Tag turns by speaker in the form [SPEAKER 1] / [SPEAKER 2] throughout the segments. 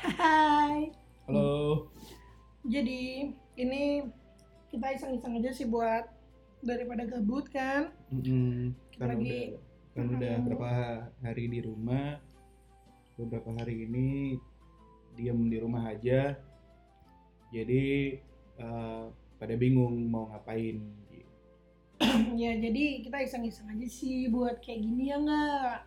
[SPEAKER 1] Hai.
[SPEAKER 2] Halo.
[SPEAKER 1] Jadi ini kita iseng-iseng aja sih buat daripada gabut kan.
[SPEAKER 2] Mm-mm. Karena
[SPEAKER 1] Lagi.
[SPEAKER 2] udah kan udah
[SPEAKER 1] Mm-mm.
[SPEAKER 2] berapa hari di rumah, beberapa hari ini diam di rumah aja. Jadi eh, pada bingung mau ngapain.
[SPEAKER 1] ya jadi kita iseng-iseng aja sih buat kayak gini ya nggak.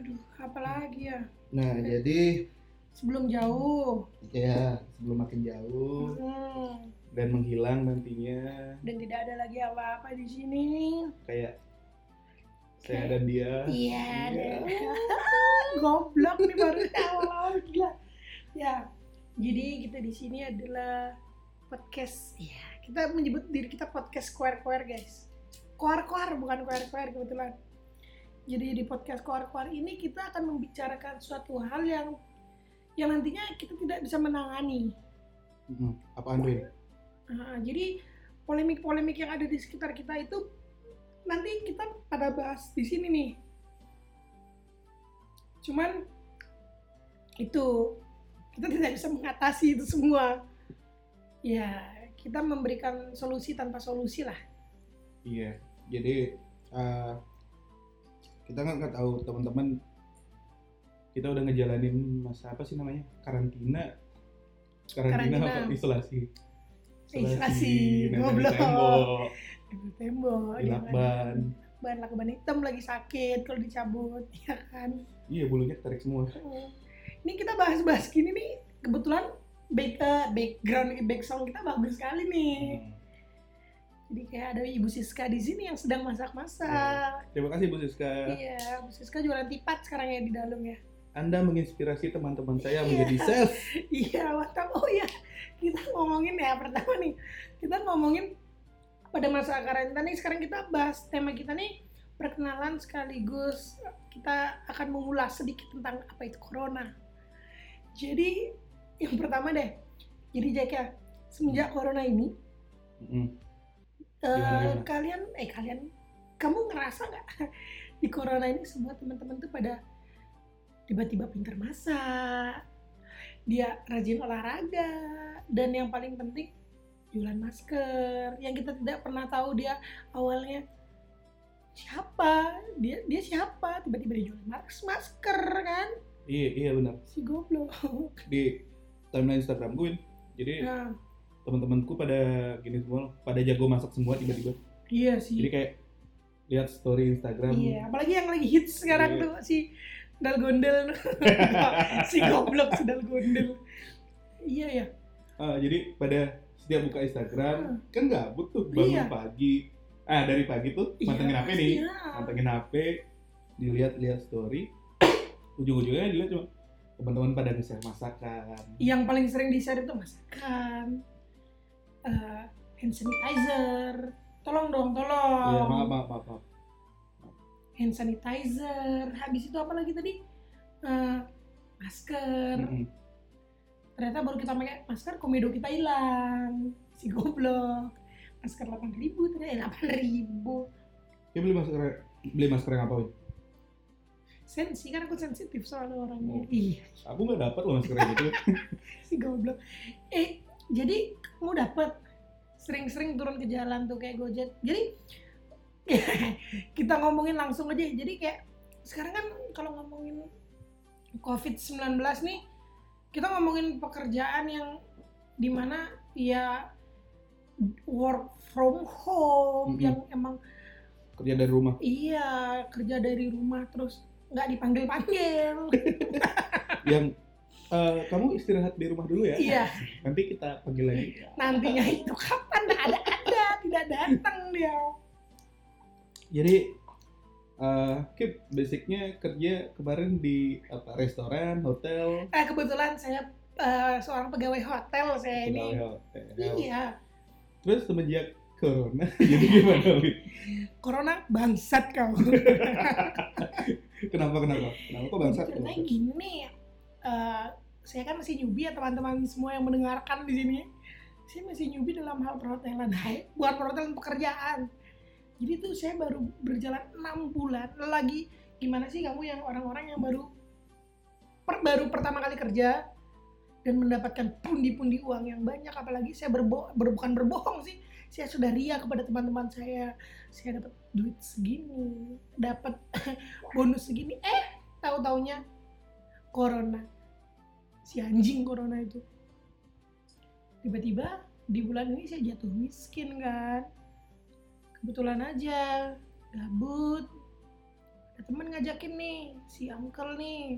[SPEAKER 1] Aduh, apa lagi ya?
[SPEAKER 2] Nah, jadi
[SPEAKER 1] Sebelum jauh.
[SPEAKER 2] ya sebelum makin jauh
[SPEAKER 1] Hmm,
[SPEAKER 2] dan menghilang nantinya
[SPEAKER 1] dan tidak ada lagi apa-apa di sini.
[SPEAKER 2] kayak saya dan dia.
[SPEAKER 1] Iya.
[SPEAKER 2] Iya.
[SPEAKER 1] deh. Goblok nih baru tahu gila. Ya. Jadi kita di sini adalah podcast. Ya, kita menyebut diri kita podcast koar-koar, guys. Koar-koar bukan koar-koar kebetulan. Jadi di podcast koar-koar ini kita akan membicarakan suatu hal yang yang nantinya kita tidak bisa menangani.
[SPEAKER 2] Mm-mm. Apaan Rin?
[SPEAKER 1] Ah, jadi polemik-polemik yang ada di sekitar kita itu nanti kita pada bahas di sini nih. Cuman itu kita tidak bisa mengatasi itu semua. Ya, kita memberikan solusi tanpa solusi lah.
[SPEAKER 2] Iya, jadi eh, kita nggak nggak tahu teman-teman kita udah ngejalanin masa apa sih namanya karantina, karantina,
[SPEAKER 1] Karantina.
[SPEAKER 2] apa isolasi,
[SPEAKER 1] Isolasi,
[SPEAKER 2] nempel di
[SPEAKER 1] goblok. Oh,
[SPEAKER 2] tembok,
[SPEAKER 1] Di Gitu, Tembok. ya
[SPEAKER 2] di lakban,
[SPEAKER 1] Ban lakban hitam lagi sakit kalau dicabut, ya kan.
[SPEAKER 2] iya bulunya tarik semua.
[SPEAKER 1] Ini kita bahas-bahas gini nih kebetulan back, eh, background background kita bagus sekali nih. Jadi kayak ada Ibu Siska di sini yang sedang masak-masak.
[SPEAKER 2] Terima kasih Bu Siska,
[SPEAKER 1] Iya, Ibu Siska jualan tipat sekarang ya di dalam ya.
[SPEAKER 2] Anda menginspirasi teman-teman saya
[SPEAKER 1] Iya.
[SPEAKER 2] menjadi chef.
[SPEAKER 1] Iya, WhatsApp. Oh iya, kita ngomongin ya pertama nih. Kita ngomongin pada masa karantina nih sekarang kita bahas tema kita nih perkenalan sekaligus kita akan mengulas sedikit tentang apa itu corona. Jadi yang pertama deh. Jadi Jaka, semenjak corona ini
[SPEAKER 2] Mm-mm.
[SPEAKER 1] Eh,
[SPEAKER 2] Gimana, gimana?
[SPEAKER 1] kalian eh kalian kamu ngerasa nggak di corona ini semua teman-teman tuh pada tiba-tiba pinter masak dia rajin olahraga dan yang paling penting jualan masker yang kita tidak pernah tahu dia awalnya siapa dia dia siapa tiba-tiba dia jualan mas- masker kan
[SPEAKER 2] Iya iya benar
[SPEAKER 1] si goblok
[SPEAKER 2] di timeline Instagram gue, jadi
[SPEAKER 1] nah
[SPEAKER 2] teman-temanku pada gini semua, pada jago masak semua tiba-tiba.
[SPEAKER 1] iya
[SPEAKER 2] jadi
[SPEAKER 1] sih
[SPEAKER 2] kayak lihat story Instagram
[SPEAKER 1] iya apalagi yang lagi hits sekarang
[SPEAKER 2] Hmm. Iya.
[SPEAKER 1] tuh si dalgondel si goblok si dalgondel iya ya
[SPEAKER 2] Ah, jadi pada setiap buka Instagram kan gabut tuh
[SPEAKER 1] Iya.
[SPEAKER 2] bangun pagi ah dari pagi tuh mantengin HP nih
[SPEAKER 1] iya.
[SPEAKER 2] mantengin HP dilihat-lihat story ujung-ujungnya dilihat cuma teman-teman pada nge-share masakan
[SPEAKER 1] yang paling sering di share itu masakan eh, hand sanitizer tolong dong tolong
[SPEAKER 2] Iya, maaf maaf maaf, maaf.
[SPEAKER 1] hand sanitizer habis itu apa lagi tadi Eh, masker
[SPEAKER 2] Mm-mm.
[SPEAKER 1] ternyata baru kita pakai masker komedo kita hilang si goblok masker 8000 ribu ternyata 8000 ribu
[SPEAKER 2] Ya, beli masker beli masker yang apa Win?
[SPEAKER 1] sensi kan aku sensitif soalnya orangnya
[SPEAKER 2] Oh.
[SPEAKER 1] iya
[SPEAKER 2] aku nggak dapat loh masker gitu. yang itu
[SPEAKER 1] si goblok eh jadi kamu dapat sering-sering turun ke jalan tuh kayak gojek jadi kita ngomongin langsung aja jadi kayak sekarang kan kalau ngomongin covid 19 nih kita ngomongin pekerjaan yang dimana ya work from home
[SPEAKER 2] Mhm.
[SPEAKER 1] yang emang
[SPEAKER 2] kerja dari rumah
[SPEAKER 1] iya kerja dari rumah terus nggak dipanggil panggil
[SPEAKER 2] yang eh, kamu istirahat di rumah dulu ya
[SPEAKER 1] iya
[SPEAKER 2] nanti kita panggil lagi
[SPEAKER 1] nantinya itu kapan ada ada tidak datang dia
[SPEAKER 2] Jadi eh Kip, basicnya kerja kemarin di apa restoran, hotel,
[SPEAKER 1] eh kebetulan saya eh, seorang pegawai hotel saya
[SPEAKER 2] pegawai
[SPEAKER 1] ini
[SPEAKER 2] ya, hotel.
[SPEAKER 1] iya
[SPEAKER 2] Terus semenjak corona, jadi gimana Win?
[SPEAKER 1] corona bangsat kau
[SPEAKER 2] Kenapa kenapa? Kenapa kok bangsat?
[SPEAKER 1] ceritanya gini eh, saya kan masih newbie ya teman-teman semua yang mendengarkan di sini saya masih newbie dalam hal perhotelan hai bukan perhotelan pekerjaan jadi tuh saya baru berjalan enam bulan lagi gimana sih kamu yang orang-orang yang baru per- baru pertama kali kerja dan mendapatkan pundi-pundi uang yang banyak apalagi saya berbo ber- bukan berbohong sih saya sudah ria kepada teman-teman saya saya dapat duit segini dapat bonus segini eh tahu taunya corona si anjing corona itu tiba-tiba di bulan ini saya jatuh miskin kan kebetulan aja gabut ada temen ngajakin nih si uncle nih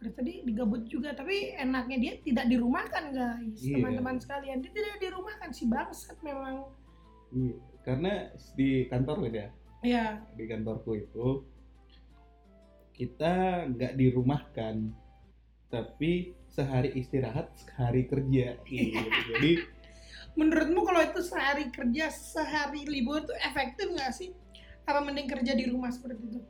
[SPEAKER 1] terus tadi digabut juga tapi enaknya dia tidak dirumahkan guys
[SPEAKER 2] Iya.
[SPEAKER 1] teman-teman sekalian dia tidak dirumahkan si bangsat memang
[SPEAKER 2] Iya, karena di kantor gitu ya,
[SPEAKER 1] ya
[SPEAKER 2] di kantorku itu kita nggak dirumahkan, tapi sehari istirahat, sehari kerja. Iya, jadi
[SPEAKER 1] menurutmu kalau itu sehari kerja sehari libur itu efektif nggak sih apa mending kerja di rumah seperti itu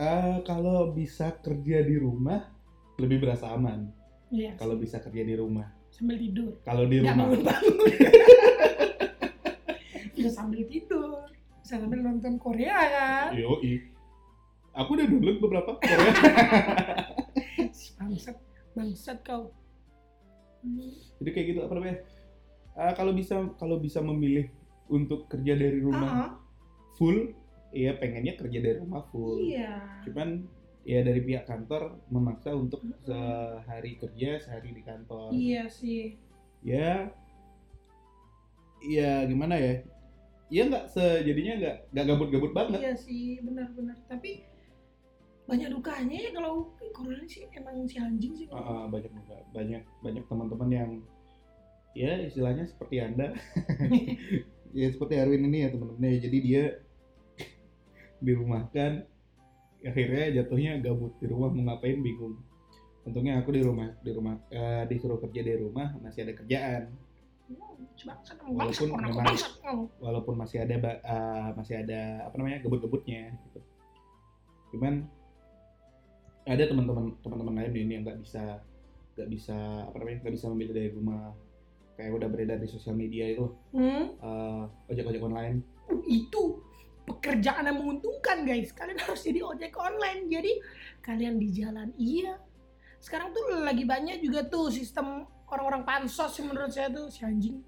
[SPEAKER 2] eh, kalau bisa kerja di rumah lebih berasa aman.
[SPEAKER 1] Iya,
[SPEAKER 2] Kalau bisa kerja di rumah,
[SPEAKER 1] sambil tidur
[SPEAKER 2] kalau di
[SPEAKER 1] nggak
[SPEAKER 2] rumah,
[SPEAKER 1] bangun bangun bisa sambil tidur bisa sambil nonton Korea kan
[SPEAKER 2] yoi. Aku udah download beberapa.
[SPEAKER 1] Si bangsat bangsat kau Hmm,
[SPEAKER 2] jadi kayak gitu apa namanya? Eh, kalau bisa kalau bisa memilih untuk kerja dari
[SPEAKER 1] ah,
[SPEAKER 2] rumah full, iya pengennya kerja dari rumah full.
[SPEAKER 1] iya
[SPEAKER 2] cuman ya dari pihak kantor memaksa untuk sehari kerja sehari di kantor
[SPEAKER 1] Hmm. iya sih
[SPEAKER 2] ya ya gimana ya ya nggak sejadinya nggak nggak gabut-gabut banget
[SPEAKER 1] iya sih benar-benar tapi banyak dukanya ya kalau corona sih emang si anjing sih
[SPEAKER 2] Ah, ah, banyak juga banyak banyak teman-teman yang ya istilahnya seperti anda ya seperti Erwin ini ya teman-temannya Ya, jadi dia di rumah kan akhirnya jatuhnya gabut di rumah mau ngapain bingung untungnya aku di rumah di rumah eh, disuruh kerja di rumah masih ada kerjaan
[SPEAKER 1] Hmm, si bangsat emang bangsat
[SPEAKER 2] Walaupun
[SPEAKER 1] corona
[SPEAKER 2] memang-
[SPEAKER 1] bangsat kau.
[SPEAKER 2] walaupun masih ada ba- eh, masih ada apa namanya gebut-gebutnya gitu. cuman ada teman-teman teman-teman lain di ini yang nggak bisa nggak bisa apa namanya nggak bisa memilih dari rumah kayak udah beredar di sosial media itu
[SPEAKER 1] Hmm?
[SPEAKER 2] eh, ojek ojek online
[SPEAKER 1] itu pekerjaan yang menguntungkan guys kalian harus jadi ojek online jadi kalian di jalan iya sekarang tuh lagi banyak juga tuh sistem orang-orang pansos sih menurut saya tuh si anjing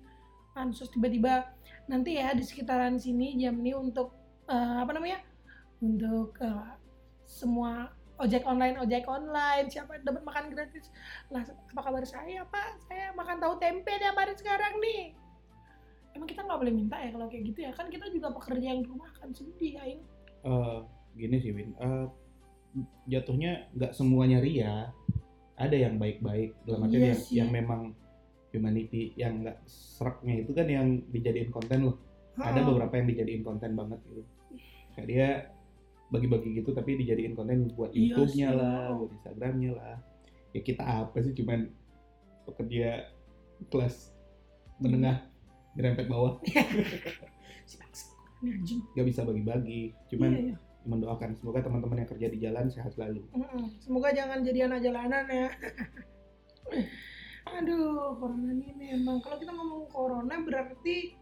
[SPEAKER 1] pansos tiba-tiba nanti ya di sekitaran sini jam ini untuk eh, apa namanya untuk eh, semua ojek online ojek online siapa yang dapat makan gratis lah apa kabar saya pak saya makan tahu tempe deh hari sekarang nih emang kita nggak boleh minta ya kalau kayak gitu ya kan kita juga pekerja yang di rumah kan sedih ya ini
[SPEAKER 2] Eh, gini sih Win Eh, jatuhnya nggak semuanya ria ada yang baik-baik dalam artian
[SPEAKER 1] Iya
[SPEAKER 2] yang,
[SPEAKER 1] sih.
[SPEAKER 2] yang memang humanity yang nggak seraknya itu kan yang dijadiin konten loh ada
[SPEAKER 1] Hmm.
[SPEAKER 2] beberapa yang dijadiin konten banget gitu kayak dia bagi-bagi gitu tapi dijadiin konten buat
[SPEAKER 1] Iya
[SPEAKER 2] YouTube-nya
[SPEAKER 1] sih.
[SPEAKER 2] lah buat Instagram-nya lah ya kita apa sih cuman pekerja kelas menengah nyerempet bawah
[SPEAKER 1] si bangsa ini anjing
[SPEAKER 2] nggak bisa bagi-bagi
[SPEAKER 1] Iya,
[SPEAKER 2] cuman
[SPEAKER 1] iya.
[SPEAKER 2] mendoakan semoga teman-teman yang kerja di jalan sehat selalu
[SPEAKER 1] Mm-mm. semoga jangan jadi anak jalanan ya aduh corona ini memang kalau kita ngomong corona berarti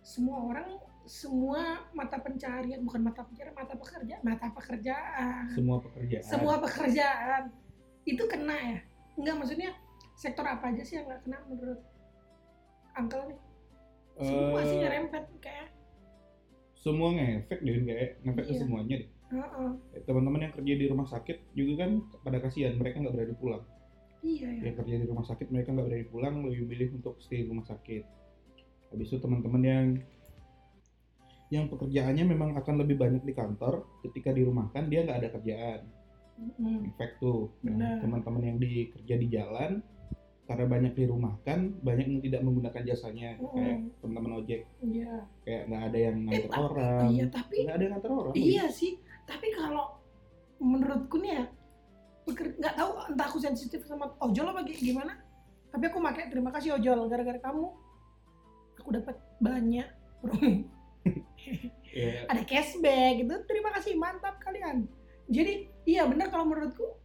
[SPEAKER 1] semua orang semua mata pencarian bukan mata pencarian mata pekerja mata pekerjaan
[SPEAKER 2] semua pekerjaan
[SPEAKER 1] Ah. semua pekerjaan itu kena ya enggak maksudnya sektor apa aja sih yang nggak kena menurut uncle nih
[SPEAKER 2] Eh,
[SPEAKER 1] semua sih nyerempet kayak
[SPEAKER 2] semua ngefek deh kayak ngefek ke
[SPEAKER 1] Iya.
[SPEAKER 2] semuanya deh
[SPEAKER 1] Heeh.
[SPEAKER 2] teman-teman yang kerja di rumah sakit juga kan pada kasihan mereka nggak berani pulang
[SPEAKER 1] iya ya.
[SPEAKER 2] yang kerja di rumah sakit mereka nggak berani pulang lebih milih untuk stay di rumah sakit habis itu teman-teman yang yang pekerjaannya memang akan lebih banyak di kantor ketika dirumahkan dia nggak ada kerjaan
[SPEAKER 1] Mm-mm.
[SPEAKER 2] efek tuh
[SPEAKER 1] Benar.
[SPEAKER 2] Nah, teman-teman yang di kerja di jalan karena banyak dirumahkan banyak yang tidak menggunakan jasanya
[SPEAKER 1] Mm-mm.
[SPEAKER 2] kayak teman-teman ojek
[SPEAKER 1] Iya.
[SPEAKER 2] kayak nggak ada yang nganter
[SPEAKER 1] tapi-
[SPEAKER 2] orang
[SPEAKER 1] iya tapi
[SPEAKER 2] nggak ada yang nganter orang
[SPEAKER 1] iya sih. Tapi kalau menurutku nih ya peker- nggak tahu entah aku sensitif sama ojol apa gi- gimana. Tapi aku pakai terima kasih ojol gara-gara kamu aku dapat banyak promo.
[SPEAKER 2] Ya,
[SPEAKER 1] Ada cashback gitu. Terima kasih mantap kalian. Jadi iya benar kalau menurutku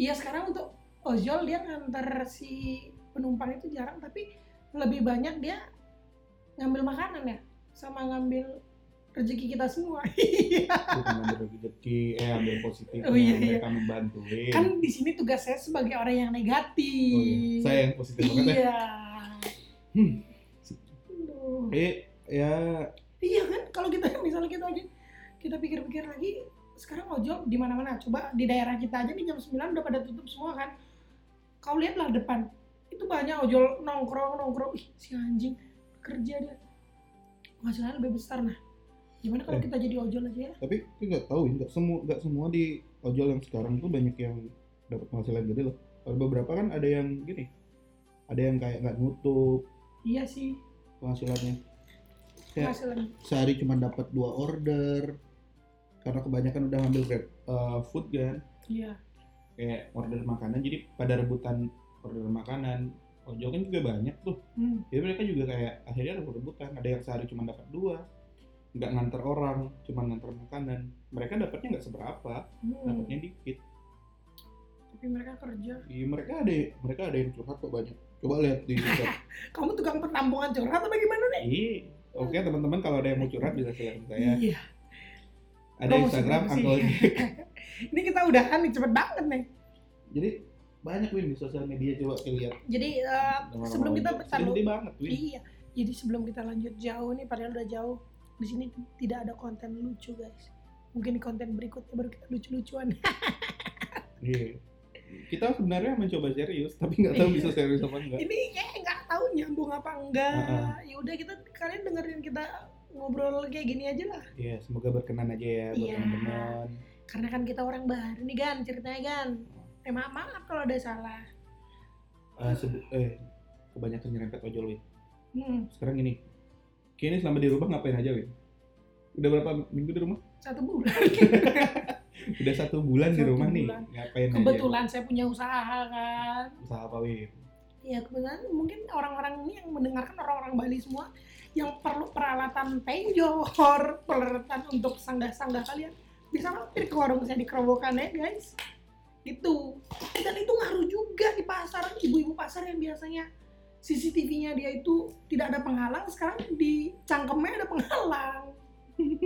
[SPEAKER 1] iya sekarang untuk ojol dia nganter si penumpang itu jarang tapi lebih banyak dia ngambil makanan ya sama ngambil rezeki kita semua. Iya.
[SPEAKER 2] bukan ambil rezeki eh ambil positif
[SPEAKER 1] Oh, iya, iya.
[SPEAKER 2] mereka membantuin
[SPEAKER 1] kan di sini tugas saya sebagai orang yang negatif.
[SPEAKER 2] oh, iya. saya yang positif banget ya
[SPEAKER 1] Iya.
[SPEAKER 2] Hmm.
[SPEAKER 1] Aduh.
[SPEAKER 2] eh ya
[SPEAKER 1] Iya kan kalau kita misalnya kita lagi kita pikir-pikir lagi sekarang ojol di mana-mana coba di daerah kita aja nih jam 9 udah pada tutup semua kan kau lihatlah depan itu banyak ojol nongkrong nongkrong ih si anjing kerja dia penghasilannya lebih besar nah gimana kalau
[SPEAKER 2] Eh.
[SPEAKER 1] kita jadi ojol aja ya
[SPEAKER 2] tapi aku nggak tahu ya, nggak semua nggak semua di ojol yang sekarang tuh banyak yang dapat penghasilan gede loh Kalau beberapa kan ada yang gini ada yang kayak nggak nutup
[SPEAKER 1] iya sih
[SPEAKER 2] penghasilannya Ya.
[SPEAKER 1] penghasilan
[SPEAKER 2] sehari cuma dapat dua order karena kebanyakan udah ngambil grab eh, food kan
[SPEAKER 1] iya
[SPEAKER 2] kayak order makanan jadi pada rebutan order makanan ojol kan juga banyak tuh
[SPEAKER 1] hmm.
[SPEAKER 2] jadi mereka juga kayak akhirnya rebut rebutan ada yang sehari cuma dapat dua nggak nganter orang cuma nganter makanan mereka dapatnya nggak seberapa
[SPEAKER 1] hmm.
[SPEAKER 2] dapatnya dikit
[SPEAKER 1] tapi mereka kerja
[SPEAKER 2] Iya, mereka ada mereka ada yang curhat kok banyak coba lihat di Twitter
[SPEAKER 1] kamu tukang pertampungan curhat apa gimana nih
[SPEAKER 2] Iya. oke teman-teman kalau ada yang mau curhat bisa silakan saya
[SPEAKER 1] iya
[SPEAKER 2] ada
[SPEAKER 1] Promosi,
[SPEAKER 2] Instagram
[SPEAKER 1] promosi.
[SPEAKER 2] Uncle Jack.
[SPEAKER 1] ini kita udahan nih cepet banget nih
[SPEAKER 2] jadi banyak win di sosial media coba lihat
[SPEAKER 1] jadi eh, sebelum kita bentar
[SPEAKER 2] gede
[SPEAKER 1] dulu.
[SPEAKER 2] banget win
[SPEAKER 1] Iya. Jadi sebelum kita lanjut jauh nih, padahal udah jauh. Di sini tidak ada konten lucu guys. Mungkin di konten berikutnya baru kita lucu-lucuan.
[SPEAKER 2] Iya. Kita sebenarnya mencoba serius, tapi nggak tahu
[SPEAKER 1] Iya.
[SPEAKER 2] bisa serius apa enggak.
[SPEAKER 1] Ini kayak nggak tahu nyambung apa enggak.
[SPEAKER 2] Heeh.
[SPEAKER 1] Ya udah kita kalian dengerin kita ngobrol kayak gini aja lah.
[SPEAKER 2] Iya, semoga berkenan aja ya buat
[SPEAKER 1] Iya.
[SPEAKER 2] teman-teman.
[SPEAKER 1] Karena kan kita orang baru nih Gan, ceritanya Gan. Eh maaf, maaf kalau ada salah.
[SPEAKER 2] Eh, sebe- eh, kebanyakan nyerempet ojol Win.
[SPEAKER 1] Hmm,
[SPEAKER 2] Sekarang gini, kini selama di rumah ngapain aja Win? Udah berapa minggu di rumah?
[SPEAKER 1] satu bulan.
[SPEAKER 2] Udah satu bulan di
[SPEAKER 1] Satu
[SPEAKER 2] rumah
[SPEAKER 1] bulan.
[SPEAKER 2] nih, ngapain aja?
[SPEAKER 1] Kebetulan saya punya usaha kan.
[SPEAKER 2] Usaha apa Win?
[SPEAKER 1] Ya kebetulan mungkin orang-orang ini yang mendengarkan orang-orang Bali semua yang perlu peralatan penjor, peralatan untuk sanggah-sanggah kalian bisa mampir ke warung saya di Kerobokan ya guys. Gitu. Dan itu ngaruh juga di pasar ibu-ibu pasar yang biasanya CCTV-nya dia itu tidak ada penghalang sekarang di cangkemnya ada penghalang.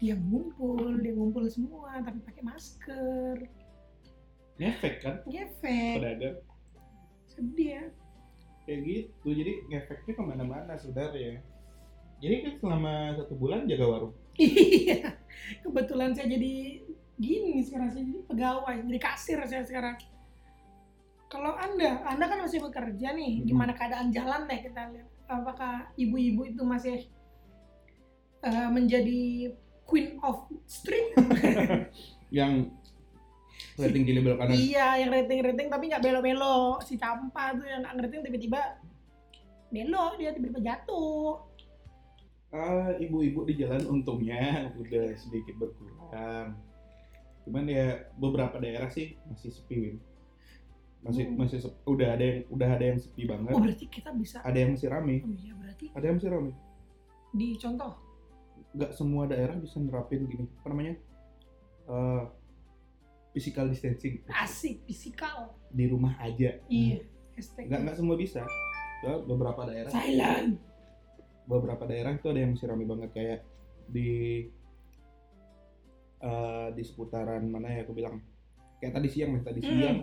[SPEAKER 1] dia ngumpul, dia ngumpul semua tapi pakai masker.
[SPEAKER 2] Ngefek kan?
[SPEAKER 1] Ngefek,
[SPEAKER 2] Pedagang
[SPEAKER 1] sedih ya.
[SPEAKER 2] kayak gitu, jadi ngefeknya kemana-mana sebenarnya. Jadi kan selama satu bulan jaga warung.
[SPEAKER 1] Iya, kebetulan saya jadi gini sekarang saya jadi pegawai, jadi kasir saya sekarang. Kalau anda, anda kan masih bekerja nih,
[SPEAKER 2] Mhm.
[SPEAKER 1] gimana keadaan jalan deh kita lihat. Apakah ibu-ibu itu masih eh, menjadi queen of street?
[SPEAKER 2] Yang rating di label kanan
[SPEAKER 1] Iya, yang rating-rating tapi nggak belo-belo. Si Campa tuh yang nggak rating tiba-tiba belo, dia tiba-tiba jatuh.
[SPEAKER 2] Ah, ibu-ibu di jalan untungnya udah sedikit berkurang. Cuman ya beberapa daerah sih masih sepi, Win. Masih
[SPEAKER 1] Hmm.
[SPEAKER 2] masih sep- udah ada yang udah ada yang sepi banget,
[SPEAKER 1] Oh berarti kita bisa.
[SPEAKER 2] ada yang masih rame,
[SPEAKER 1] Oh iya berarti
[SPEAKER 2] ada yang masih rame.
[SPEAKER 1] di contoh.
[SPEAKER 2] Gak semua daerah bisa nerapin gini, apa namanya? Eh, physical distancing
[SPEAKER 1] Asik, fisikal.
[SPEAKER 2] di rumah aja.
[SPEAKER 1] Iya. Hashtag.
[SPEAKER 2] Gak nggak semua bisa. Soalnya beberapa daerah
[SPEAKER 1] Thailand.
[SPEAKER 2] beberapa daerah itu ada yang masih rame banget kayak di eh, di seputaran mana ya aku bilang kayak tadi siang nih tadi
[SPEAKER 1] Hmm.
[SPEAKER 2] siang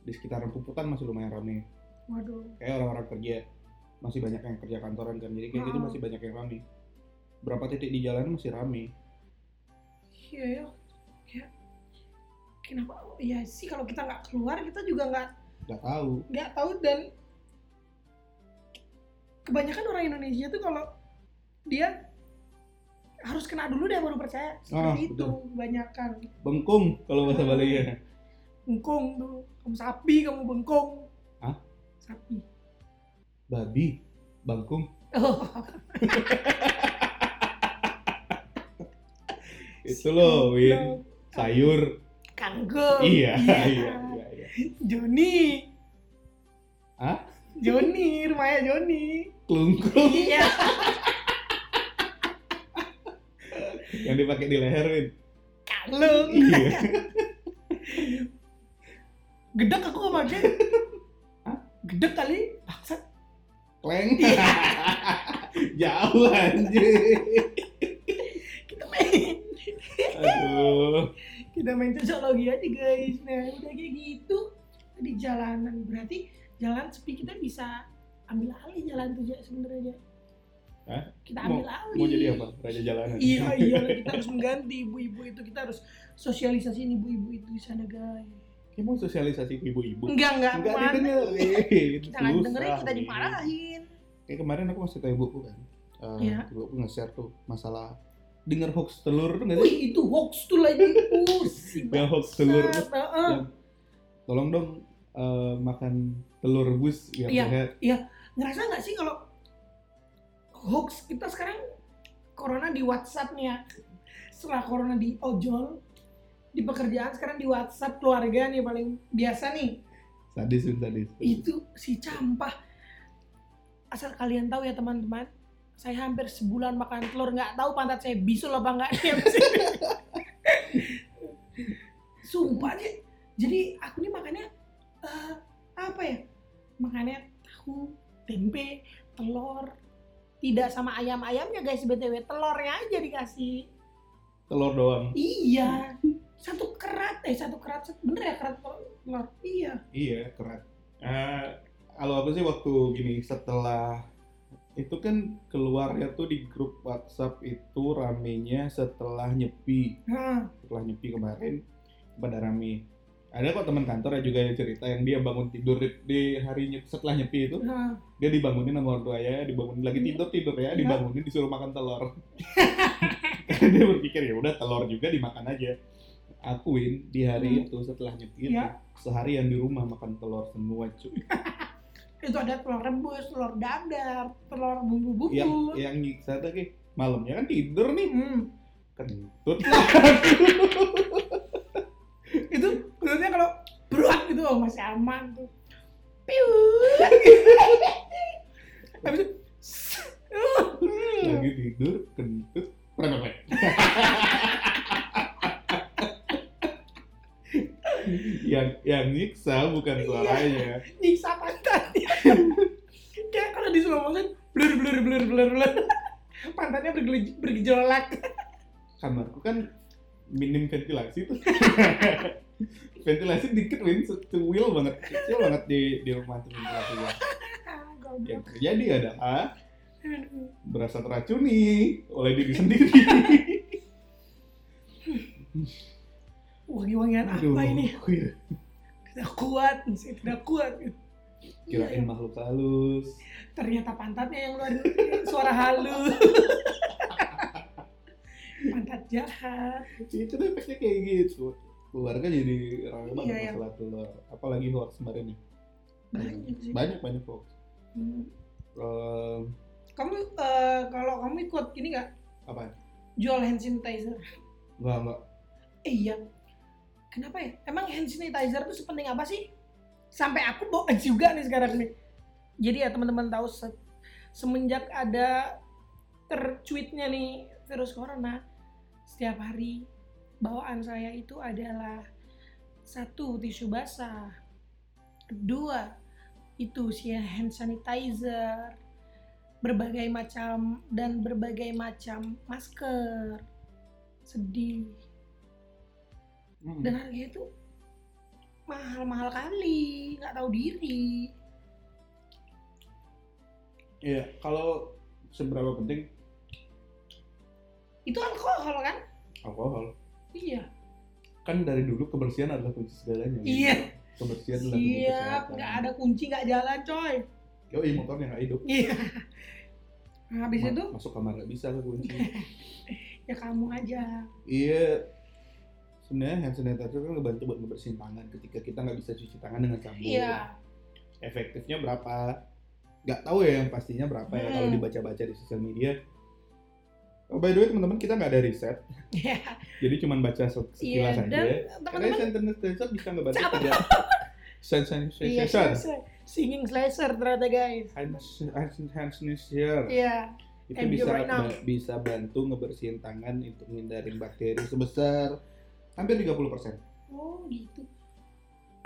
[SPEAKER 2] di sekitaran Puputan masih lumayan rame
[SPEAKER 1] Waduh.
[SPEAKER 2] kayak orang-orang kerja masih banyak yang kerja kantoran kan jadi kayak gitu
[SPEAKER 1] Ah.
[SPEAKER 2] masih banyak yang rame berapa titik di jalan masih rame
[SPEAKER 1] Iya ya. Ya. Kenapa? Ya sih kalau kita nggak keluar kita juga nggak
[SPEAKER 2] nggak tahu
[SPEAKER 1] nggak tahu dan kebanyakan orang Indonesia tuh kalau dia harus kena dulu deh baru percaya seperti
[SPEAKER 2] Ah,
[SPEAKER 1] itu kebanyakan
[SPEAKER 2] bengkung kalau bahasa ya.
[SPEAKER 1] Ah.
[SPEAKER 2] Balinya
[SPEAKER 1] bengkong tuh kamu sapi kamu bengkong
[SPEAKER 2] Hah?
[SPEAKER 1] sapi
[SPEAKER 2] babi bangkung
[SPEAKER 1] oh
[SPEAKER 2] itu loh Win sayur
[SPEAKER 1] kanggeng
[SPEAKER 2] iya iya iya iya
[SPEAKER 1] Joni
[SPEAKER 2] Hah?
[SPEAKER 1] Joni rumahnya Joni
[SPEAKER 2] klungkung
[SPEAKER 1] iya
[SPEAKER 2] yang dipakai di leher Win
[SPEAKER 1] kalung
[SPEAKER 2] iya
[SPEAKER 1] gedek aku sama dia
[SPEAKER 2] Hah?
[SPEAKER 1] gedek kali bangsat
[SPEAKER 2] Kleng. Jauh anjir.
[SPEAKER 1] kita main sosiologi aja guys nah udah kayak gitu di jalanan berarti jalan sepi kita bisa ambil alih jalan tuh ya sebenarnya
[SPEAKER 2] Hah?
[SPEAKER 1] kita ambil alih
[SPEAKER 2] mau jadi apa raja jalanan
[SPEAKER 1] iya iya kita harus mengganti ibu-ibu itu kita harus sosialisasiin ibu-ibu itu di sana guys
[SPEAKER 2] emang sosialisasi ke ibu-ibu
[SPEAKER 1] enggak enggak
[SPEAKER 2] enggak
[SPEAKER 1] apaan.
[SPEAKER 2] didengerin
[SPEAKER 1] Iya. kita nggak dengerin kita
[SPEAKER 2] Susah, Win.
[SPEAKER 1] dimarahin
[SPEAKER 2] kayak kemarin aku masih tahu ibuku kan Eh,
[SPEAKER 1] Iya.
[SPEAKER 2] ibuku nge-share tuh masalah denger hoax telur tuh nggak sih
[SPEAKER 1] wih itu hoax tuh lagi pusing
[SPEAKER 2] Yang hoax telur.
[SPEAKER 1] bangsat. Heeh.
[SPEAKER 2] Yang tolong dong eh, makan telur rebus biar
[SPEAKER 1] Iya.
[SPEAKER 2] sehat
[SPEAKER 1] ngerasa nggak sih kalau hoax kita sekarang corona di WhatsApp nih ya setelah corona di ojol di pekerjaan sekarang di WhatsApp keluarga nih paling biasa nih
[SPEAKER 2] sadis Win, sadis
[SPEAKER 1] itu si campah asal kalian tahu ya teman-teman saya hampir sebulan makan telur nggak tahu pantat saya bisul apa nggak nih abis ini. sumpah Ji. jadi aku nih makannya eh, apa ya makannya tahu tempe telur tidak sama ayam-ayamnya guys btw telurnya aja dikasih
[SPEAKER 2] telur doang
[SPEAKER 1] iya satu kerat eh satu kerat bener ya kerat telur iya
[SPEAKER 2] Iya, keren. Eh, kalau aku sih waktu gini setelah itu kan keluarnya tuh di grup WhatsApp itu ramenya setelah nyepi,
[SPEAKER 1] Heeh.
[SPEAKER 2] setelah nyepi kemarin pada rame. Ada kok teman kantor juga yang cerita yang dia bangun tidur di, di hari nyep- setelah nyepi itu
[SPEAKER 1] heeh.
[SPEAKER 2] dia dibangunin sama orang tuanya, dibangunin lagi
[SPEAKER 1] Iya.
[SPEAKER 2] tidur tidur ya, dibangunin disuruh makan telur. Karena dia berpikir ya udah telur juga dimakan aja. Akuin di hari
[SPEAKER 1] Hmm.
[SPEAKER 2] itu setelah nyepi itu,
[SPEAKER 1] Iya.
[SPEAKER 2] seharian di rumah makan telur semua cuy.
[SPEAKER 1] itu ada telur rebus, telur dadar, telur bumbu
[SPEAKER 2] yang
[SPEAKER 1] bubur.
[SPEAKER 2] yang nyiksa tuh Ki, malamnya kan tidur nih
[SPEAKER 1] Hmm.
[SPEAKER 2] kentut.
[SPEAKER 1] Itu maksudnya kalau berat gitu oh, masih aman tuh. Piu. Habis itu
[SPEAKER 2] Hmm.
[SPEAKER 1] Iya. hmm,
[SPEAKER 2] Lagi tidur kentut. Pernah yang yang nyiksa
[SPEAKER 1] Iya.
[SPEAKER 2] bukan suaranya.
[SPEAKER 1] nyiksa pantat. Kayak kalau di slow motion blur blur blur blur blur. Pantatnya bergele- bergejolak.
[SPEAKER 2] Kamarku kan minim ventilasi tuh. ventilasi dikit win secuil banget kecil banget di di rumah tuh ventilasi gua.
[SPEAKER 1] Ah, goblok.
[SPEAKER 2] yang terjadi adalah
[SPEAKER 1] Aduh.
[SPEAKER 2] berasa teracuni oleh diri sendiri
[SPEAKER 1] Wangi-wangian apa
[SPEAKER 2] Aduh,
[SPEAKER 1] ini?
[SPEAKER 2] iya.
[SPEAKER 1] Tidak kuat, saya tidak kuat. Iya.
[SPEAKER 2] kirain makhluk halus
[SPEAKER 1] ternyata pantatnya yang luar suara halus pantat jahat
[SPEAKER 2] itu tuh efeknya kayak gitu keluarga jadi ramai banget
[SPEAKER 1] Iya, iya.
[SPEAKER 2] masalah telur apalagi hoax kemarin ya
[SPEAKER 1] banyak gitu sih
[SPEAKER 2] banyak banyak hoax
[SPEAKER 1] Hmm.
[SPEAKER 2] Ehm,
[SPEAKER 1] kamu eh, kalau kamu ikut ini nggak
[SPEAKER 2] apa ya?
[SPEAKER 1] jual hand sanitizer
[SPEAKER 2] nggak nggak
[SPEAKER 1] eh, iya kenapa ya emang hand sanitizer itu sepenting apa sih sampai aku bawa juga nih sekarang nih jadi ya teman-teman tahu se- semenjak ada tercuitnya nih virus corona setiap hari bawaan saya itu adalah satu tisu basah dua itu si hand sanitizer berbagai macam dan berbagai macam masker sedih
[SPEAKER 2] Hmm.
[SPEAKER 1] dan harganya itu mahal-mahal kali nggak tahu diri
[SPEAKER 2] iya kalau seberapa penting
[SPEAKER 1] itu alkohol kan
[SPEAKER 2] alkohol
[SPEAKER 1] iya
[SPEAKER 2] kan dari dulu kebersihan adalah kunci segalanya
[SPEAKER 1] Iya.
[SPEAKER 2] kebersihan adalah kunci
[SPEAKER 1] siap nggak ada kunci nggak jalan coy
[SPEAKER 2] yo motornya nggak hidup
[SPEAKER 1] iya nah, habis
[SPEAKER 2] Ma-
[SPEAKER 1] itu
[SPEAKER 2] masuk kamar nggak bisa ke kunci
[SPEAKER 1] ya kamu aja
[SPEAKER 2] iya sebenarnya hand sanitizer kan ngebantu buat ngebersihin tangan ketika kita nggak bisa cuci tangan dengan sabun
[SPEAKER 1] iya
[SPEAKER 2] efektifnya berapa nggak tahu ya yang pastinya berapa ya kalau
[SPEAKER 1] Hmm.
[SPEAKER 2] dibaca-baca di sosial media oh, by the way teman-teman kita nggak ada riset
[SPEAKER 1] iya
[SPEAKER 2] jadi cuman baca se-
[SPEAKER 1] iya
[SPEAKER 2] sekilas aja
[SPEAKER 1] dan
[SPEAKER 2] karena
[SPEAKER 1] teman-teman
[SPEAKER 2] sentence sensor bisa ngebantu
[SPEAKER 1] Siapa
[SPEAKER 2] kerja sen- sen-
[SPEAKER 1] iya
[SPEAKER 2] sensor
[SPEAKER 1] slasher. singing slasher ternyata guys
[SPEAKER 2] hand hand- hand sanitizer
[SPEAKER 1] iya
[SPEAKER 2] itu
[SPEAKER 1] And you
[SPEAKER 2] bisa
[SPEAKER 1] right now.
[SPEAKER 2] ba- bisa bantu ngebersihin tangan untuk menghindarin bakteri sebesar hampir 30%
[SPEAKER 1] oh gitu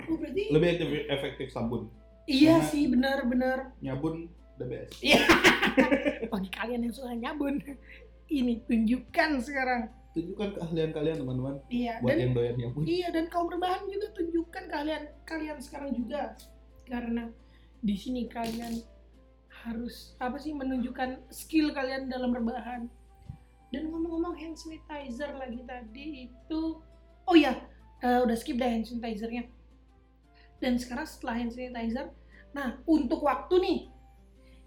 [SPEAKER 1] oh berarti
[SPEAKER 2] lebih efektif- efektif sabun
[SPEAKER 1] iya
[SPEAKER 2] karena-
[SPEAKER 1] sih benar-benar
[SPEAKER 2] nyabun the best
[SPEAKER 1] bagi kalian yang suka nyabun ini tunjukkan sekarang
[SPEAKER 2] tunjukkan keahlian kalian teman-teman
[SPEAKER 1] iya
[SPEAKER 2] buat
[SPEAKER 1] dan
[SPEAKER 2] yang doyan yang punya
[SPEAKER 1] Iya dan kaum rebahan juga tunjukkan kalian kalian sekarang juga karena di sini kalian harus apa sih menunjukkan skill kalian dalam rebahan. Dan ngomong-ngomong hand sanitizer lagi tadi itu oh ya udah skip dah hand sanitizernya. Dan sekarang setelah hand sanitizer, nah untuk waktu nih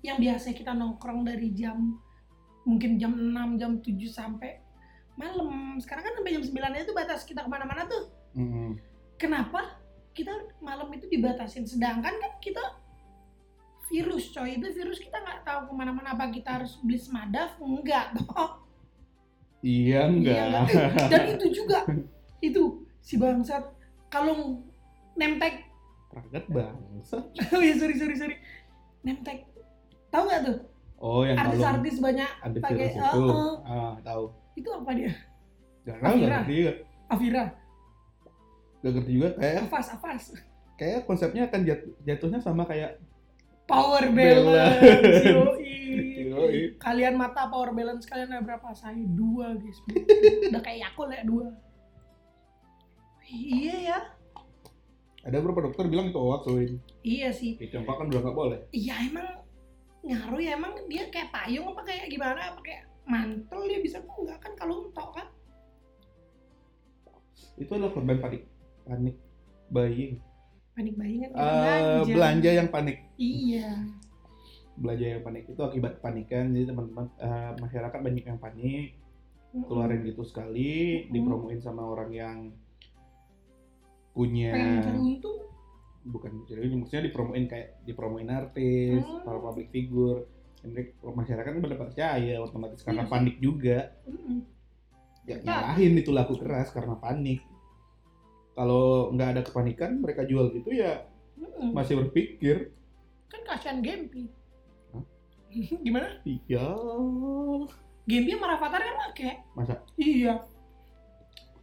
[SPEAKER 1] yang biasanya kita nongkrong dari jam mungkin jam 6, jam 7 sampai malam. Sekarang kan sampai jam 9 itu batas kita kemana-mana tuh
[SPEAKER 2] Mm-mm.
[SPEAKER 1] kenapa kita malam itu dibatasin sedangkan kan kita virus coy itu virus kita nggak tahu kemana-mana apa kita harus beli semadaf enggak toh
[SPEAKER 2] iya
[SPEAKER 1] Iya,
[SPEAKER 2] enggak
[SPEAKER 1] nggak. Eh, dan itu juga itu si bangsat kalau nemtek
[SPEAKER 2] perangkat bangsa
[SPEAKER 1] oh ya sorry sorry sorry nemtek tahu nggak tuh
[SPEAKER 2] oh yang kalau
[SPEAKER 1] artis-artis banyak
[SPEAKER 2] ada
[SPEAKER 1] pakai,
[SPEAKER 2] virus itu
[SPEAKER 1] eh,
[SPEAKER 2] ah tahu
[SPEAKER 1] itu apa dia
[SPEAKER 2] Gak tahu gak
[SPEAKER 1] Akhirnya.
[SPEAKER 2] ngerti juga
[SPEAKER 1] Afira
[SPEAKER 2] gak ngerti juga kayak
[SPEAKER 1] Afas Afas
[SPEAKER 2] kayak konsepnya akan jat- jatuhnya sama kayak
[SPEAKER 1] power
[SPEAKER 2] Balance.
[SPEAKER 1] balance,
[SPEAKER 2] Yoi.
[SPEAKER 1] Yoi. kalian mata power balance kalian ada berapa saya dua guys udah kayak aku lah dua iya ya
[SPEAKER 2] ada beberapa dokter bilang itu hoax Win.
[SPEAKER 1] iya sih
[SPEAKER 2] itu yang kan udah gak boleh
[SPEAKER 1] iya emang ngaruh ya emang dia kayak payung apa kayak gimana apa kayak mantel dia bisa kok enggak kan kalau entok kan
[SPEAKER 2] itu adalah korban panik panik buying
[SPEAKER 1] panik bayi kan
[SPEAKER 2] Eh, belanja yang panik
[SPEAKER 1] iya
[SPEAKER 2] belanja yang panik itu akibat kepanikan jadi teman-teman eh, masyarakat banyak yang panik keluarin gitu sekali
[SPEAKER 1] Mm-mm.
[SPEAKER 2] dipromoin sama orang yang punya
[SPEAKER 1] pengen cari untung
[SPEAKER 2] bukan jadi maksudnya dipromoin kayak dipromoin artis
[SPEAKER 1] Hmm.
[SPEAKER 2] para public figure Dan mereka- masyarakat kan pada percaya otomatis karena
[SPEAKER 1] Iya.
[SPEAKER 2] panik juga
[SPEAKER 1] Mm-mm.
[SPEAKER 2] ya
[SPEAKER 1] Betul.
[SPEAKER 2] nyalahin itu laku keras karena panik kalau nggak ada kepanikan mereka jual gitu ya
[SPEAKER 1] Mm-mm.
[SPEAKER 2] masih berpikir
[SPEAKER 1] kan kasihan Gempi
[SPEAKER 2] Hah?
[SPEAKER 1] gimana
[SPEAKER 2] iya
[SPEAKER 1] Gempi sama Rafathar kan pake
[SPEAKER 2] Masa?
[SPEAKER 1] Iya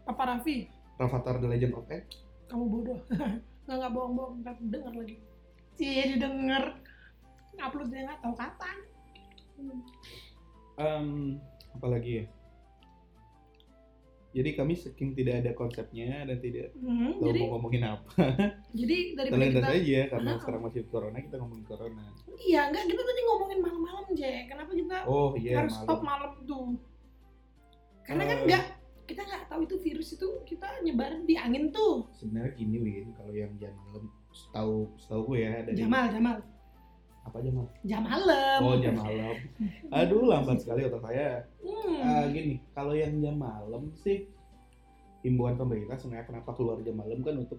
[SPEAKER 1] Papa Raffi
[SPEAKER 2] Rafathar The Legend of X
[SPEAKER 1] Kamu bodoh Nggak, nggak bohong-bohong Ntar denger lagi Iya didengar Uploadnya nggak tahu kapan
[SPEAKER 2] Em, apalagi ya jadi kami saking tidak ada konsepnya dan tidak
[SPEAKER 1] Hmm,
[SPEAKER 2] tahu
[SPEAKER 1] Jadi
[SPEAKER 2] mau ngomongin apa
[SPEAKER 1] jadi dari
[SPEAKER 2] terlintas
[SPEAKER 1] kita
[SPEAKER 2] aja karena
[SPEAKER 1] Ah.
[SPEAKER 2] sekarang masih corona kita ngomongin corona
[SPEAKER 1] Iya enggak kita tadi ngomongin malam-malam Je Kenapa kita
[SPEAKER 2] oh iya
[SPEAKER 1] harus stop malam
[SPEAKER 2] malam
[SPEAKER 1] tuh Karena kan
[SPEAKER 2] Eh.
[SPEAKER 1] enggak kita nggak tahu itu virus itu kita nyebarin di angin tuh
[SPEAKER 2] sebenarnya gini Win kalau yang jam malam setahu setahu gue ya dari
[SPEAKER 1] jam mal jam mal
[SPEAKER 2] apa jam malam
[SPEAKER 1] jam malam
[SPEAKER 2] oh jam malam aduh lambat sekali otak saya
[SPEAKER 1] Hmm.
[SPEAKER 2] Eh, gini kalau yang jam malam sih himbauan pemerintah sebenarnya kenapa keluar jam malam kan untuk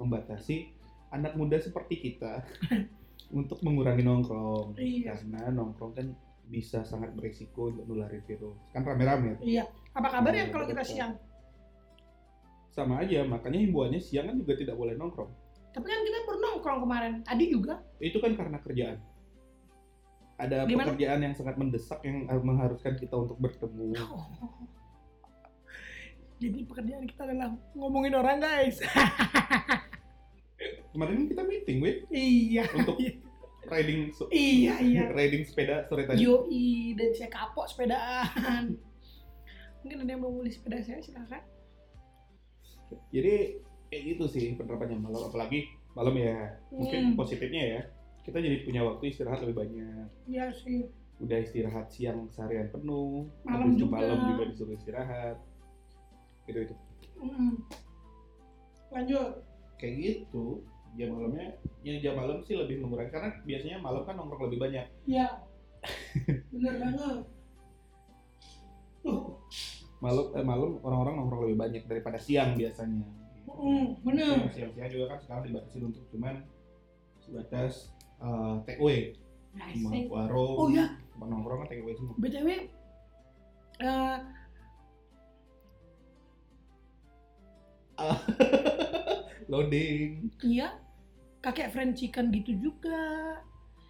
[SPEAKER 2] membatasi anak muda seperti kita untuk mengurangi nongkrong
[SPEAKER 1] Iya.
[SPEAKER 2] karena nongkrong kan bisa sangat berisiko untuk nularin virus kan rame-rame
[SPEAKER 1] apa kabar
[SPEAKER 2] Iya,
[SPEAKER 1] ya kalau kita
[SPEAKER 2] betul.
[SPEAKER 1] siang
[SPEAKER 2] sama aja makanya himbauannya siang kan juga tidak boleh nongkrong
[SPEAKER 1] Tapi kan kita baru nongkrong kemarin. Tadi juga.
[SPEAKER 2] itu kan karena kerjaan ada
[SPEAKER 1] Di mana?
[SPEAKER 2] pekerjaan yang sangat mendesak yang eh, mengharuskan kita untuk bertemu
[SPEAKER 1] Jadi pekerjaan kita adalah ngomongin orang guys.
[SPEAKER 2] kemarin kan kita meeting wait
[SPEAKER 1] iya.
[SPEAKER 2] untuk riding se-
[SPEAKER 1] Iya iya.
[SPEAKER 2] riding sepeda sore tadi
[SPEAKER 1] Yoi dan saya kapok sepedaan. Mungkin ada yang mau beli sepeda saya silakan.
[SPEAKER 2] jadi eh, itu sih penerapannya malam apalagi malam ya
[SPEAKER 1] Hmm.
[SPEAKER 2] mungkin positifnya ya kita jadi punya waktu istirahat lebih banyak
[SPEAKER 1] Iya sih.
[SPEAKER 2] udah istirahat siang seharian penuh
[SPEAKER 1] Malam
[SPEAKER 2] habis itu
[SPEAKER 1] juga.
[SPEAKER 2] malam juga disuruh istirahat gitu itu
[SPEAKER 1] Mm. Lanjut.
[SPEAKER 2] kayak gitu jam malamnya ya jam malam sih lebih mengurangi karena biasanya malam kan nongkrong lebih banyak
[SPEAKER 1] Ya. Bener banget. Tuh.
[SPEAKER 2] malam eh, malam orang-orang nongkrong lebih banyak daripada siang biasanya.
[SPEAKER 1] Mm, bener.
[SPEAKER 2] Siang- Siang-siang juga kan sekarang dibatasi untuk cuman sebatas eh, take away, cuma
[SPEAKER 1] Nice.
[SPEAKER 2] warung,
[SPEAKER 1] Oh ya,
[SPEAKER 2] tempat nongkrong kan take away semua.
[SPEAKER 1] BTW eh
[SPEAKER 2] Loading.
[SPEAKER 1] iya kakek friend chicken gitu juga.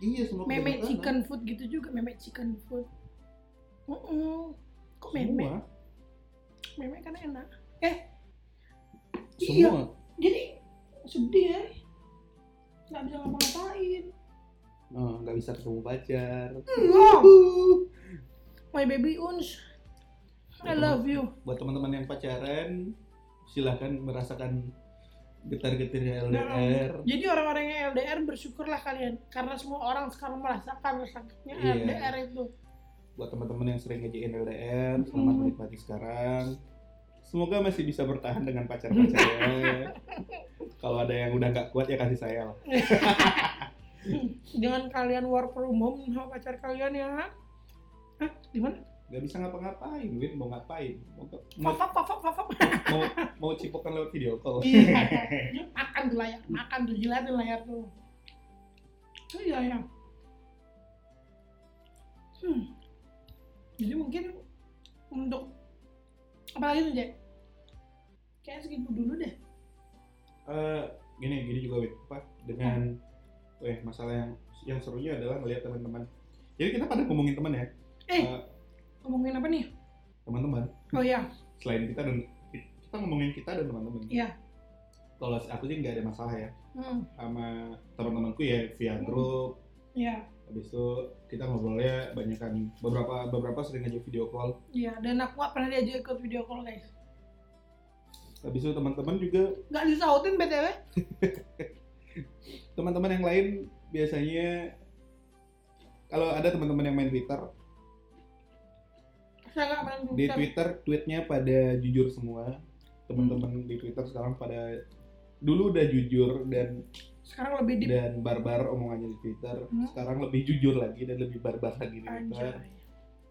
[SPEAKER 2] Iya semua.
[SPEAKER 1] meme
[SPEAKER 2] kebanyakan.
[SPEAKER 1] chicken food gitu juga meme chicken food Mm-mm. kok meme
[SPEAKER 2] Semua.
[SPEAKER 1] meme karena enak eh iya
[SPEAKER 2] Semua.
[SPEAKER 1] jadi sedih ya nggak bisa ngapa-ngapain
[SPEAKER 2] Eh, nggak Iya. bisa ketemu pacar.
[SPEAKER 1] Mm, wow. my baby uns I love you.
[SPEAKER 2] buat teman-teman yang pacaran silahkan merasakan getar-getirnya LDR
[SPEAKER 1] Nah, Jadi orang-orang yang LDR bersyukurlah kalian karena semua orang sekarang merasakan sakitnya
[SPEAKER 2] Iya.
[SPEAKER 1] LDR itu.
[SPEAKER 2] buat teman-teman yang sering ngejain LDR selamat
[SPEAKER 1] Hmm.
[SPEAKER 2] menikmati sekarang semoga masih bisa bertahan dengan pacar-pacarnya kalau ada yang udah nggak kuat ya kasih saya lah
[SPEAKER 1] Jangan kalian war from home sama pacar kalian ya. Hah, gimana?
[SPEAKER 2] nggak bisa ngapa-ngapain Win mau ngapain mau, mau,
[SPEAKER 1] Fafap, fafap, fafap.
[SPEAKER 2] mau, mau cipokan lewat video call
[SPEAKER 1] Iya. Dia Makan tuh layar, makan tuh jilatin layar tuh. Itu ya ya. Hmm. Jadi mungkin untuk apalagi tuh Jack? Kayaknya segitu dulu deh.
[SPEAKER 2] Eh, gini gini juga Win apa dengan eh masalah yang yang serunya adalah ngelihat teman-teman jadi kita pada ngomongin teman ya
[SPEAKER 1] Eh.
[SPEAKER 2] Eh,
[SPEAKER 1] Ngomongin apa nih?
[SPEAKER 2] teman-teman
[SPEAKER 1] Oh ya,
[SPEAKER 2] selain kita dan kita ngomongin kita dan teman-teman.
[SPEAKER 1] Iya.
[SPEAKER 2] Kalau aku sih nggak ada masalah ya
[SPEAKER 1] Hmm,
[SPEAKER 2] sama teman-temanku ya via
[SPEAKER 1] Hmm.
[SPEAKER 2] grup.
[SPEAKER 1] ya,
[SPEAKER 2] Habis itu kita ngobrolnya banyakan beberapa beberapa sering aja video call.
[SPEAKER 1] ya. Dan aku gak pernah diajak ikut video call guys.
[SPEAKER 2] Habis itu teman-teman juga
[SPEAKER 1] Gak disautin btw.
[SPEAKER 2] teman-teman yang lain biasanya kalau ada teman-teman yang main Twitter,
[SPEAKER 1] Saya gak main
[SPEAKER 2] di
[SPEAKER 1] Twitter.
[SPEAKER 2] Twitter tweetnya pada jujur semua. Teman-teman di Twitter sekarang pada dulu udah jujur dan
[SPEAKER 1] Sekarang lebih di
[SPEAKER 2] dan barbar omongannya di Twitter.
[SPEAKER 1] Hmm.
[SPEAKER 2] Sekarang lebih jujur lagi dan lebih barbar lagi di Twitter.
[SPEAKER 1] Anjay.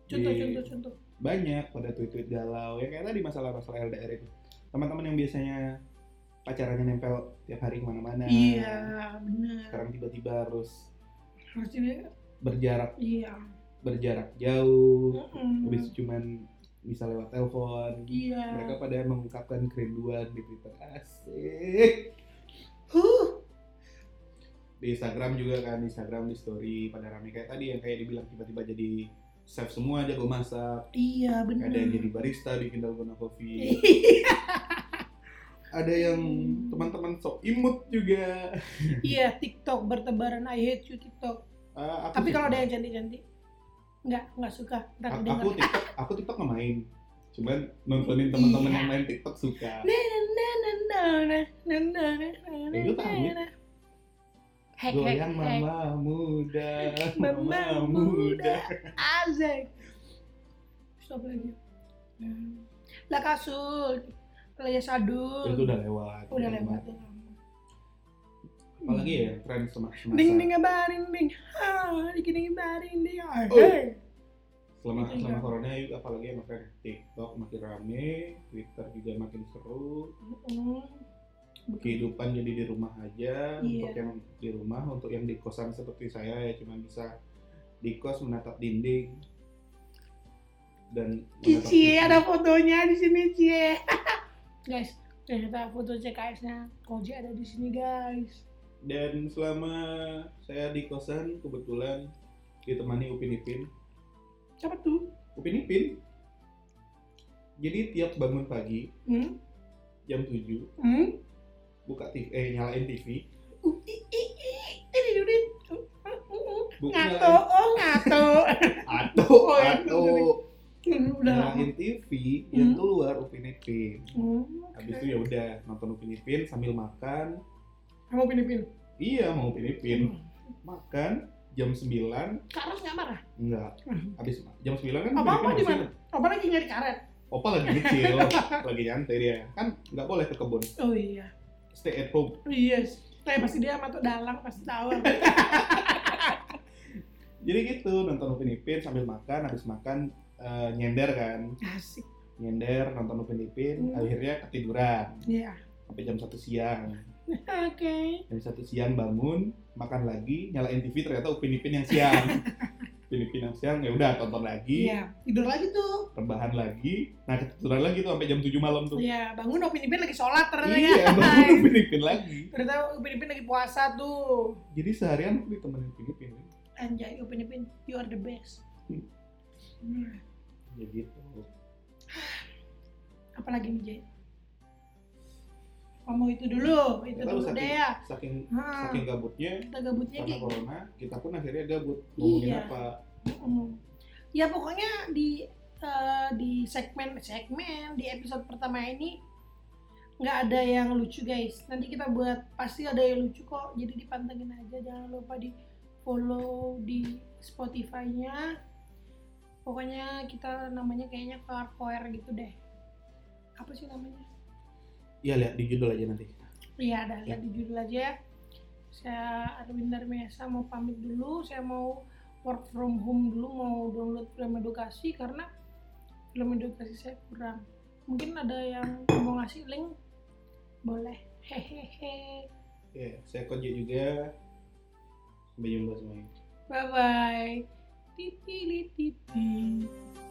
[SPEAKER 1] Contoh,
[SPEAKER 2] Di-
[SPEAKER 1] contoh, contoh.
[SPEAKER 2] Banyak pada tweet-tweet galau ya kayak tadi masalah-masalah LDR itu. Teman-teman yang biasanya pacarannya nempel tiap hari kemana-mana.
[SPEAKER 1] Iya, benar.
[SPEAKER 2] Sekarang tiba-tiba harus
[SPEAKER 1] Harus ini.
[SPEAKER 2] berjarak
[SPEAKER 1] Iya. Hmm.
[SPEAKER 2] berjarak jauh.
[SPEAKER 1] Mm-mm.
[SPEAKER 2] Habis itu cuman bisa lewat telepon.
[SPEAKER 1] Iya.
[SPEAKER 2] Mereka pada mengungkapkan kerinduan di Twitter. Asik.
[SPEAKER 1] Huh.
[SPEAKER 2] Di Instagram juga kan, di Instagram di story pada rame kayak tadi yang kayak dibilang tiba-tiba jadi chef semua jago masak.
[SPEAKER 1] Iya, benar.
[SPEAKER 2] ada yang jadi barista bikin dalgona kopi
[SPEAKER 1] Iya.
[SPEAKER 2] ada yang teman-teman sok imut juga
[SPEAKER 1] iya, TikTok bertebaran I hate you TikTok.
[SPEAKER 2] Ah, aku
[SPEAKER 1] Tapi
[SPEAKER 2] sih-
[SPEAKER 1] kalau ada yang cantik-cantik enggak, enggak suka. Entar
[SPEAKER 2] A-
[SPEAKER 1] dengar.
[SPEAKER 2] aku tiktok aku tiktok nggak main cuman nontonin teman-teman
[SPEAKER 1] Iya.
[SPEAKER 2] yang main tiktok suka
[SPEAKER 1] Na, na, na, na, na, na, na, na, na,
[SPEAKER 2] Ya, itu tahu.
[SPEAKER 1] na, na. Hek, hek,
[SPEAKER 2] goyang
[SPEAKER 1] hek.
[SPEAKER 2] mama muda
[SPEAKER 1] Mama
[SPEAKER 2] mama
[SPEAKER 1] muda.
[SPEAKER 2] muda
[SPEAKER 1] Azek. Stop lagi. Hmm. Lah kasul. Laya
[SPEAKER 2] itu
[SPEAKER 1] sadul.
[SPEAKER 2] udah lewat
[SPEAKER 1] Udah lewat.
[SPEAKER 2] apalagi ya tren sem- semasa
[SPEAKER 1] Ding ding abarin ding. Ah, ding ding abarin ding. Ah,
[SPEAKER 2] Oh.
[SPEAKER 1] hey.
[SPEAKER 2] selama
[SPEAKER 1] Ding, ding,
[SPEAKER 2] selama
[SPEAKER 1] ding.
[SPEAKER 2] corona yuk apalagi yang tren tiktok makin rame twitter juga makin seru
[SPEAKER 1] Mm-mm.
[SPEAKER 2] kehidupan jadi di rumah
[SPEAKER 1] Iya.
[SPEAKER 2] aja untuk yang di rumah untuk yang di kosan seperti saya ya cuma bisa di kos menatap dinding dan menatap
[SPEAKER 1] Cie
[SPEAKER 2] dinding.
[SPEAKER 1] ada fotonya di sini Cie. guys, ternyata foto CKS-nya Koji ada di sini guys.
[SPEAKER 2] dan selama saya di kosan kebetulan ditemani Upin Ipin
[SPEAKER 1] Siapa tuh?
[SPEAKER 2] Upin Ipin jadi tiap bangun pagi
[SPEAKER 1] Hmm?
[SPEAKER 2] jam 7
[SPEAKER 1] Hmm?
[SPEAKER 2] buka TV eh nyalain TV
[SPEAKER 1] Uh, i, i, i, ini duit. Uh, uh, uh.
[SPEAKER 2] buka
[SPEAKER 1] Ngato, oh ngato.
[SPEAKER 2] atau
[SPEAKER 1] Oh, iya,
[SPEAKER 2] atau
[SPEAKER 1] Udah lama.
[SPEAKER 2] nyalain TV yang
[SPEAKER 1] Hmm.
[SPEAKER 2] keluar Upin Ipin
[SPEAKER 1] Hmm, oke.
[SPEAKER 2] Habis itu ya udah nonton Upin Ipin sambil makan.
[SPEAKER 1] Kamu pilih-pilih.
[SPEAKER 2] Iya mau Upin Ipin.
[SPEAKER 1] Hmm.
[SPEAKER 2] Makan jam 9
[SPEAKER 1] Karas nggak marah?
[SPEAKER 2] enggak. Habis ma- jam 9 kan
[SPEAKER 1] Hmm. Apa-apa
[SPEAKER 2] Upin Ipin
[SPEAKER 1] di
[SPEAKER 2] masih-
[SPEAKER 1] mana? Apa lagi nyari karet?
[SPEAKER 2] Opa lagi kecil, lagi nyantai dia. Kan nggak boleh ke kebun.
[SPEAKER 1] Oh iya.
[SPEAKER 2] Stay at home.
[SPEAKER 1] Yes. Tapi pasti dia sama Tok dalang pasti tahu.
[SPEAKER 2] Jadi gitu nonton Upin Ipin sambil makan, habis makan eh, nyender kan.
[SPEAKER 1] Asik.
[SPEAKER 2] Nyender nonton Upin Ipin,
[SPEAKER 1] Hmm.
[SPEAKER 2] akhirnya ketiduran
[SPEAKER 1] Iya.
[SPEAKER 2] sampai jam 1 siang.
[SPEAKER 1] Oke.
[SPEAKER 2] Jam 1 siang bangun, makan lagi, nyalain TV ternyata Upin Ipin yang siang. Upin Ipin yang siang ya udah tonton lagi.
[SPEAKER 1] Iya. Tidur lagi tuh.
[SPEAKER 2] rebahan lagi nah ketiduran lagi tuh sampai jam 7 malam tuh
[SPEAKER 1] Iya. Bangun Upin Ipin lagi sholat ternyata.
[SPEAKER 2] iya bangun Upin Ipin lagi
[SPEAKER 1] Ternyata Upin Ipin lagi puasa tuh.
[SPEAKER 2] jadi seharian aku ditemenin Upin Ipin
[SPEAKER 1] Anjay Upin Ipin, you are the best.
[SPEAKER 2] Hmm.
[SPEAKER 1] Hmm.
[SPEAKER 2] ya gitu
[SPEAKER 1] Apalagi nih Jay? Kamu itu dulu, itu
[SPEAKER 2] Nggak tahu,
[SPEAKER 1] dulu
[SPEAKER 2] sakit.
[SPEAKER 1] deh ya.
[SPEAKER 2] saking
[SPEAKER 1] Ha,
[SPEAKER 2] saking gabutnya
[SPEAKER 1] kita gabutnya
[SPEAKER 2] karena
[SPEAKER 1] kayak
[SPEAKER 2] corona kita pun akhirnya gabut ngomongin
[SPEAKER 1] Iya.
[SPEAKER 2] apa
[SPEAKER 1] Mm. Ya pokoknya di eh, di segmen segmen di episode pertama ini nggak ada yang lucu guys. Nanti kita buat pasti ada yang lucu kok. Jadi dipantengin aja. Jangan lupa di follow di Spotify-nya. Pokoknya kita namanya kayaknya koer koer gitu deh. Apa sih namanya?
[SPEAKER 2] Iya lihat di judul aja nanti.
[SPEAKER 1] Iya, ada lihat di judul aja. ya. Saya Arwin Darmiasa mau pamit dulu. Saya mau work from home dulu, mau download film edukasi karena film edukasi saya kurang. Mungkin ada yang mau ngasih link? Boleh. Hehehe.
[SPEAKER 2] Iya, saya kerja juga. Sampai jumpa semuanya.
[SPEAKER 1] Bye bye. Tipi tipi.